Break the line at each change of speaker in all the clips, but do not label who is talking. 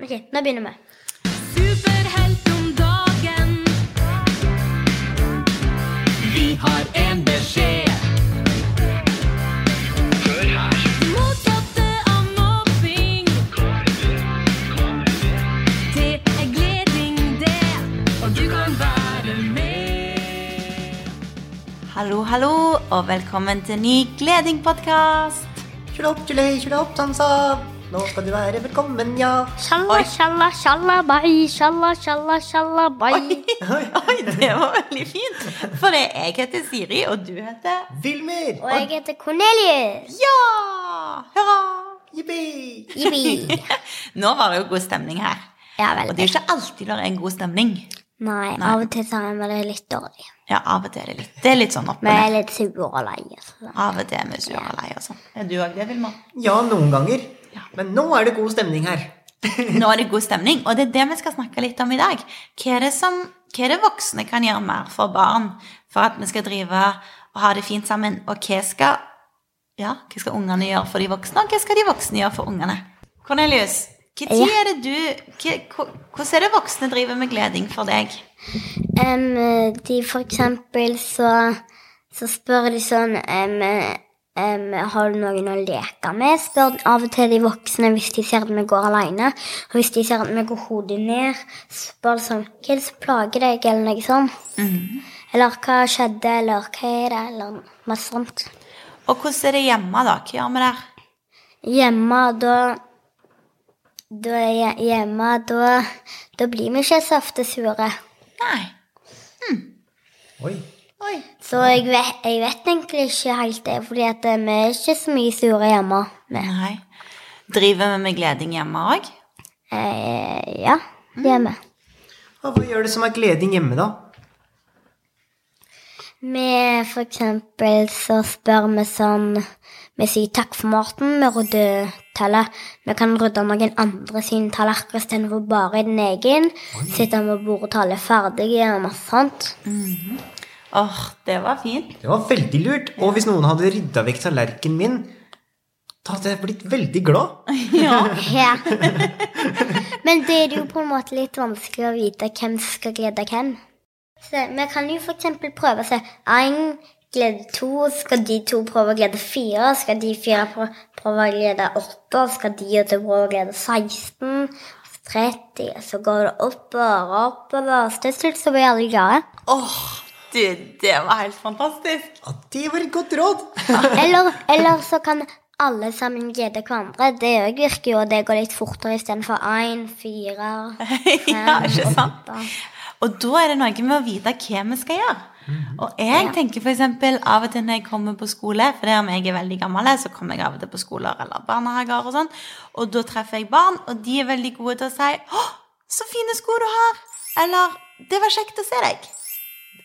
Ok, nå begynner vi.
Superhelt om dagen.
Vi har en beskjed. Hør her.
Motsatte av mobbing. Det er gleding, det.
Og du kan være med.
Hallo, hallo, og velkommen til ny Gleding-podkast.
Kjør opp, kjør hei, kjør opp, dansa. Nå skal du være velkommen, ja.
Shalla,
Oi.
shalla, shalla, bai. Shalla, shalla, shalla, bai.
Oi, det var veldig fint. For det jeg heter Siri, og du heter
Vilmer!
Og jeg heter Cornelius.
Ja! Hurra!
Jippi!
Jippi.
Nå var det jo god stemning her.
Ja,
Og
veldig.
det er jo ikke alltid det er en god stemning.
Nei,
Nei.
av og til så er det litt dårlig.
Ja, av og til er det litt, det er litt sånn opp og
Vi er
ned.
litt sure og altså. leie. så-
Av og til er vi sure og lei og sånn. Er du òg det, Vilma?
Ja, noen ganger. Men nå er det god stemning her.
Nå er det god stemning, og det er det vi skal snakke litt om i dag. Hva er det, som, hva er det voksne kan gjøre mer for barn for at vi skal drive og ha det fint sammen? Og hva skal, ja, hva skal ungene gjøre for de voksne, og hva skal de voksne gjøre for ungene? Cornelius, hva tid er det du, hva, hvor- hvordan er det voksne driver med gleding for deg?
Em, de for eksempel så, så spør de sånn em, em, Har du noen å leke med? Spør av og til de voksne hvis de ser at vi går alene. Og hvis de ser at vi går hodet ned, spør de sånn Hva er det som plager deg? Eller noe sånt. Eller hva skjedde? Eller hva er det? Eller masse sånt.
Og hvordan er det hjemme da? Hva gjør vi der?
Hjemme, da da er jeg hjemme, da, da blir vi ikke så ofte sure.
Nei.
Oi.
Oi.
Så jeg vet, jeg vet egentlig ikke helt det, fordi at eh, vi er ikke så mye sure hjemme. Men,
Nei. Driver vi med gleding hjemme også?
eh, ja, hjemme.
Og hva gjør det som er gleding hjemme, da?
Vi for eksempel så spør vi sånn Vi sier takk for maten, vi rydder tallet. Vi kan rydde noen andre sine tallerkener istedenfor bare din egen. Sitter med bordet til alle er ferdige og masse sånt.
Åh, det var fint.
Det var veldig lurt. Og hvis noen hadde rydda vekk tallerkenen min, da hadde jeg blitt veldig glad.
Ja. Men det er det jo på en måte litt vanskelig å vite hvem som skal glede hvem. Så Vi kan jo f.eks. prøve å se én glede to, skal de to prøve å glede fire, skal de fire prø- prøve å glede åtte, skal de åtte prøve å glede 16, 30, og så går det oppover og oppover, og til slutt så blir alle glade.
Åh, du, det var helt fantastisk.
Ja, det var et godt råd.
Eller, eller så kan alle sammen glede hverandre. Det òg virker jo, og det går litt fortere istedenfor én, fire,
ja, ikke sant?
åtte.
Og da er det noe med å vite hva vi skal gjøre. Og jeg tenker for eksempel av og til når jeg kommer på skole, for det om jeg er veldig gammel, så kommer jeg av og til på skoler eller barnehager og sånn, og da treffer jeg barn, og de er veldig gode til å si «Å, så fine sko du har!» Eller «Det var kjekt å se deg!»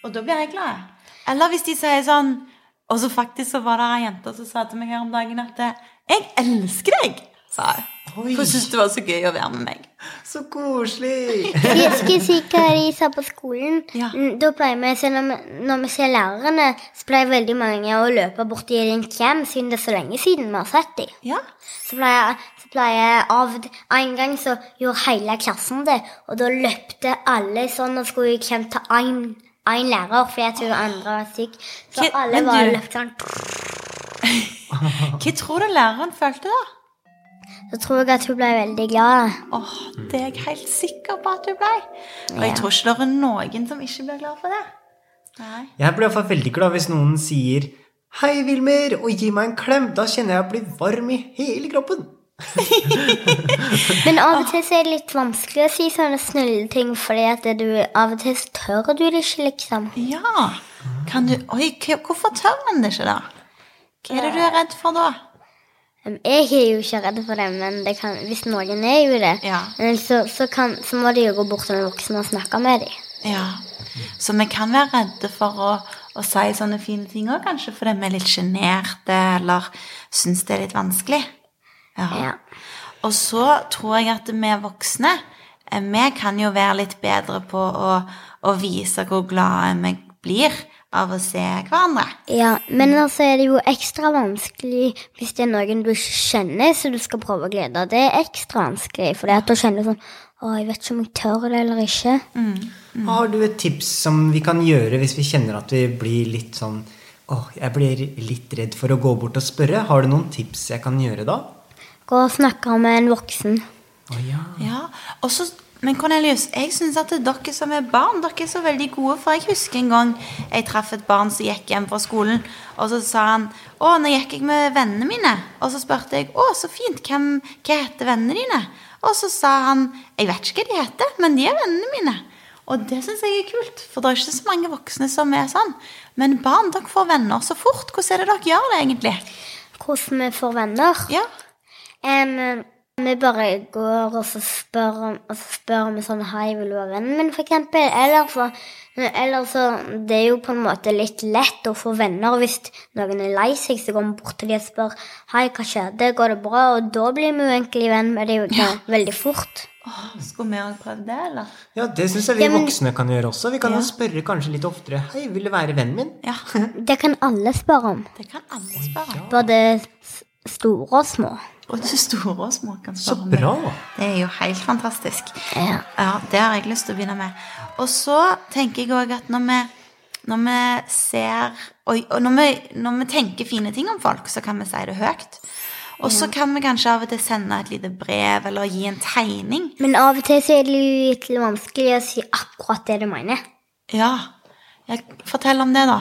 Og da blir jeg glad. Eller hvis de sier sånn Og så faktisk så var det ei jente som sa til meg her om dagen at «Jeg elsker deg!» sa hun.
Oi.
Hun syntes det var så gøy å være med meg.
Så koselig.
Jeg skal si hva de sa på skolen.
Ja.
Mm, Da pleier vi, så når, vi, når vi ser lærerne, så pleier veldig mange å løpe bort til en klem, siden det er så lenge siden vi har sett dem.
Ja.
Så pleier, så pleier av En gang så gjorde hele klassen det, og da løpte alle sånn og skulle i klem til én én lærer, fordi jeg tror andre var syk. Så
Hva-
alle
men
bare
du-
løpte sånn.
Hva tror du læreren følte da?
Så tror jeg at hun ble veldig glad.
Åh, Det er jeg helt sikker på at du ble. Og jeg tror ikke det er noen som ikke blir glad for det. Nei.
Jeg blir i hvert fall veldig glad hvis noen sier Hei, Vilmer, og gi meg en klem. Da kjenner jeg at jeg blir varm i hele kroppen.
Men av og til så er det litt vanskelig å si sånne snille ting, fordi at du, av og til så tør du det ikke, liksom.
Ja. Kan du Oi, hva- hvorfor tør han det ikke, da? Hva er det du er redd for da?
Um, Jeg er jo ikke redd for det, men det kan, hvis noen er jo det,
Ja.
um, så, så, kan, så må de jo gå bort til en voksen og snakke med dem.
Ja. Så vi kan være redde for å, å si sånne fine ting òg, kanskje fordi vi er litt sjenerte eller syns det er litt vanskelig.
Ja.
Og så tror jeg at vi voksne, eh, vi kan jo være litt bedre på å, å vise hvor glade vi blir av å se hverandre.
Ja, men altså er det jo ekstra vanskelig hvis det er noen du ikke kjenner, så du skal prøve å glede deg. Det er ekstra vanskelig, for det at du kjenner sånn Å, jeg vet ikke om jeg tør det eller ikke.
Mm. Har du et tips som vi kan gjøre hvis vi kjenner at vi blir litt sånn Åh, jeg blir litt redd for å gå bort og spørre. Har du noen tips jeg kan gjøre da?
Gå og snakke med en voksen.
Å ja.
Ja, og så men Cornelius, jeg synes at dere som er barn, dere er så veldig gode. For jeg husker en gang jeg traff et barn som gikk hjem fra skolen. Og så sa han å, nå gikk jeg med vennene mine. Og så spurte jeg å, så fint, hvem, hva heter vennene dine? Og så sa han jeg vet ikke hva de heter, men de er vennene mine. Og det syns jeg er kult, for det er ikke så mange voksne som er sånn. Men barn, dere får venner så fort. Hvordan er det dere gjør det egentlig?
Hvordan vi får venner.
Ja,
Em, um, vi bare går og så spør, om- og så spør vi sånn Hei, vil du være vennen min, for eksempel? Eller så, eller så Det er jo på en måte litt lett å få venner hvis noen er lei seg, så går vi bort til dem og spør Hei, hva skjedde, går det bra? Og da blir vi jo egentlig venn med dem ja. veldig fort.
Åh, Skulle vi òg prøvd det, eller?
ja, det syns jeg vi
Ja, men-
voksne kan gjøre også. Vi kan
Ja.
jo spørre kanskje litt oftere. Hei, vil du være vennen min?
Ja,
Det kan alle spørre om.
det kan alle spørre.
Både s- store og små.
Både store og små kan
Så
spørre om det.
bra!
Det er jo helt fantastisk.
Ja.
Ja, Det har jeg lyst til å begynne med. Og så tenker jeg òg at når vi, når vi ser Og, og når, vi, når vi tenker fine ting om folk, så kan vi si det høyt. Og så kan vi kanskje av og til sende et lite brev eller gi en tegning.
Men av og til så er det jo litt vanskelig å si akkurat det du mener.
Ja, jeg, Fortell om det, da.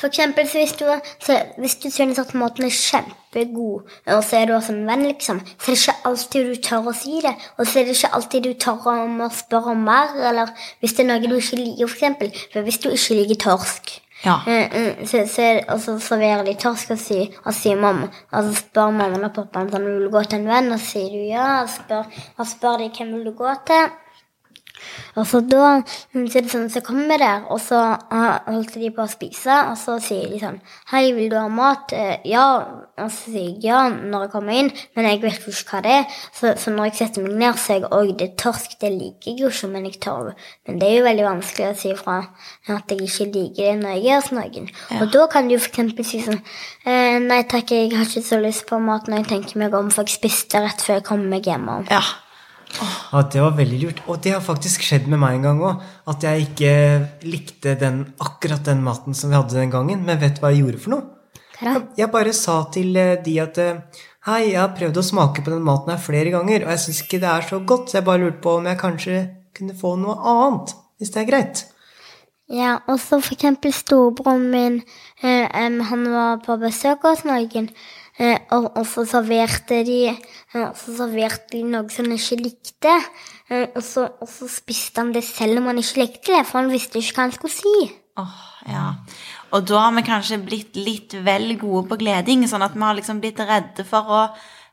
For eksempel så hvis du, så hvis du sånn synes at maten er kjempegod, og så er du også en venn, liksom, så er det ikke alltid du tør å si det. Og så er det ikke alltid du tør om å spørre om mer, eller hvis det er noe du ikke liker, for eksempel. For hvis du ikke liker torsk,
Ja.
eh, eh, så, så, er- og så serverer de torsk og sier, og sier mamma, og så spør mammaen og pappaen sånn, vil du gå til en venn, og så sier du ja, og spør, og spør de hvem vil du gå til. Og så da mm, så er det sånn, så kommer vi der, og så ah, holdt de på å spise, og så sier de sånn Hei, vil du ha mat? Eh, ja. Og så sier jeg ja når jeg kommer inn, men jeg vet jo ikke hva det er. Så, så når jeg setter meg ned, så er jeg òg det er torsk. Det liker jeg jo ikke, men jeg tør. Men det er jo veldig vanskelig å si fra at jeg ikke liker det når jeg er hos noen. Og da kan du f.eks. si sånn eh, Nei takk, jeg har ikke så lyst på mat når jeg tenker meg om, for jeg spiste rett før jeg kom meg hjemme.
ja.
Ja, det var veldig lurt. Og det har faktisk skjedd med meg en gang òg. At jeg ikke likte den, akkurat den maten som vi hadde den gangen. Men vet du hva jeg gjorde for noe?
Hva da?
Jeg bare sa til eh, de at eh, Hei, jeg har prøvd å smake på den maten her flere ganger, og jeg syns ikke det er så godt, så jeg bare lurte på om jeg kanskje kunne få noe annet, hvis det er greit.
Ja, og så for eksempel storebroren min, eh, em, han var på besøk hos noen, eh, og, og så serverte de, eh, og så serverte de noe som han ikke likte, eh, og, så, og så spiste han det selv om han ikke likte det, for han visste ikke hva han skulle si.
Åh, ja. Og da har vi kanskje blitt litt vel gode på gleding, sånn at vi har liksom blitt redde for å,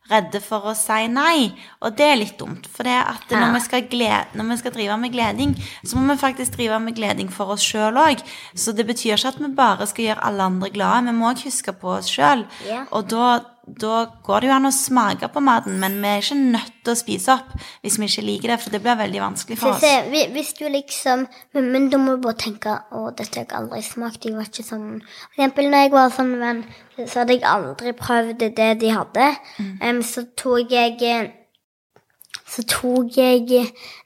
redde for å si nei. Og det er litt dumt, for det at når, vi skal gled, når vi skal drive med gleding, så må vi faktisk drive med gleding for oss sjøl òg. Så det betyr ikke at vi bare skal gjøre alle andre glade, vi må òg huske på oss sjøl.
Ja.
Og da, da går det jo an å smake på maten, men vi er ikke nødt til å spise opp hvis vi ikke liker det, for det blir veldig vanskelig for
Så,
oss.
så, hvi- hvis du liksom Men, men du må bare tenke Å, dette har jeg aldri smakt. Jeg var ikke sånn For eksempel når jeg var sånn venn, så hadde jeg aldri prøvd det de hadde. Em, så tok jeg Så tok jeg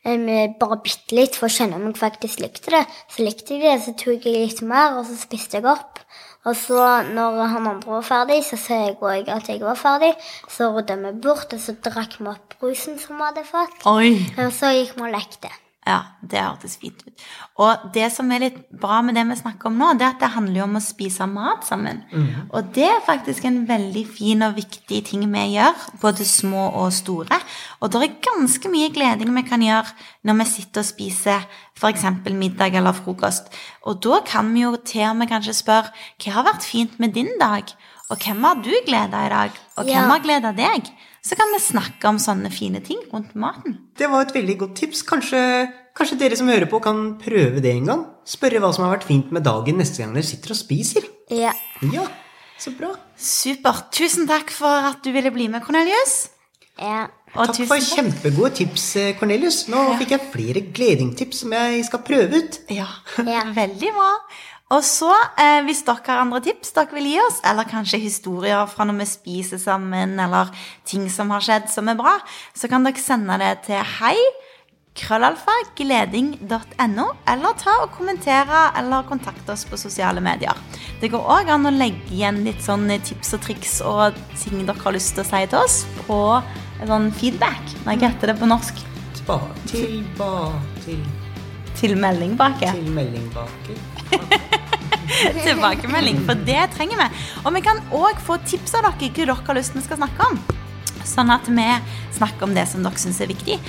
em, bare bitte litt for å kjenne om jeg faktisk likte det. Så likte jeg det, så tok jeg litt mer, og så spiste jeg opp. Og så når han andre var ferdig, så sa jeg òg at jeg var ferdig. Så rydda vi bort, og så drakk vi opp brusen som vi hadde fått.
Oi!
Og så gikk vi og lekte.
Ja, det hørtes fint ut. Og det som er litt bra med det vi snakker om nå, det er at det handler jo om å spise mat sammen. Og det er faktisk en veldig fin og viktig ting vi gjør, både små og store. Og det er ganske mye gleding vi kan gjøre når vi sitter og spiser f.eks. middag eller frokost. Og da kan vi jo til og med kanskje spørre hva har vært fint med din dag? Og hvem har du gleda i dag? Og
Ja.
hvem har gleda deg? Så kan vi snakke om sånne fine ting rundt maten.
Det var et veldig godt tips. Kanskje, kanskje dere som hører på, kan prøve det en gang? Spørre hva som har vært fint med dagen neste gang dere sitter og spiser.
Ja.
Ja, så bra.
Supert. Tusen takk for at du ville bli med, Cornelius.
ja.
Og
Takk
tusen
for kjempegode tips, eh, Cornelius. Nå fikk jeg flere gledingtips som jeg skal prøve ut.
Ja.
Ja.
Veldig bra. Og så, eh, hvis dere har andre tips dere vil gi oss, eller kanskje historier fra når vi spiser sammen, eller ting som har skjedd som er bra, så kan dere sende det til hei krøllalfa gleding.no, eller ta og kommentere eller kontakte oss på sosiale medier. Det går òg an å legge igjen litt sånn tips og triks og ting dere har lyst til å si til oss, på sånn feedback. Nei, hva heter det på norsk?
Tilba, tilba, til,
Tilmelding bak. her.
til meldingbaker.
tilbakemelding, for det trenger vi. Og vi kan òg få tips av dere hva dere har lyst til vi skal snakke om. Sånn at vi snakker om det som dere syns er viktig.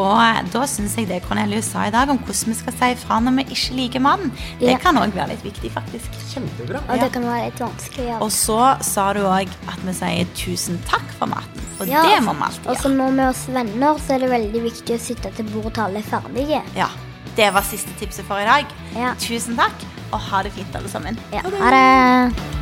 Og da syns jeg det Cornelius sa i dag om hvordan vi skal si fra når vi ikke liker mannen, det
Ja.
kan òg være litt viktig, faktisk.
Kjempebra.
Og det kan være litt vanskelig å gjøre.
Og så sa du òg at vi sier tusen takk for maten. Og
Ja,
det må vi alltid
Og så
gjøre.
når vi er hos venner, så er det veldig viktig å sitte til bordet til alle er ferdige.
Ja, Det var siste tipset for i dag.
Ja.
Tusen takk, og ha det fint, alle sammen.
Ja, ha det.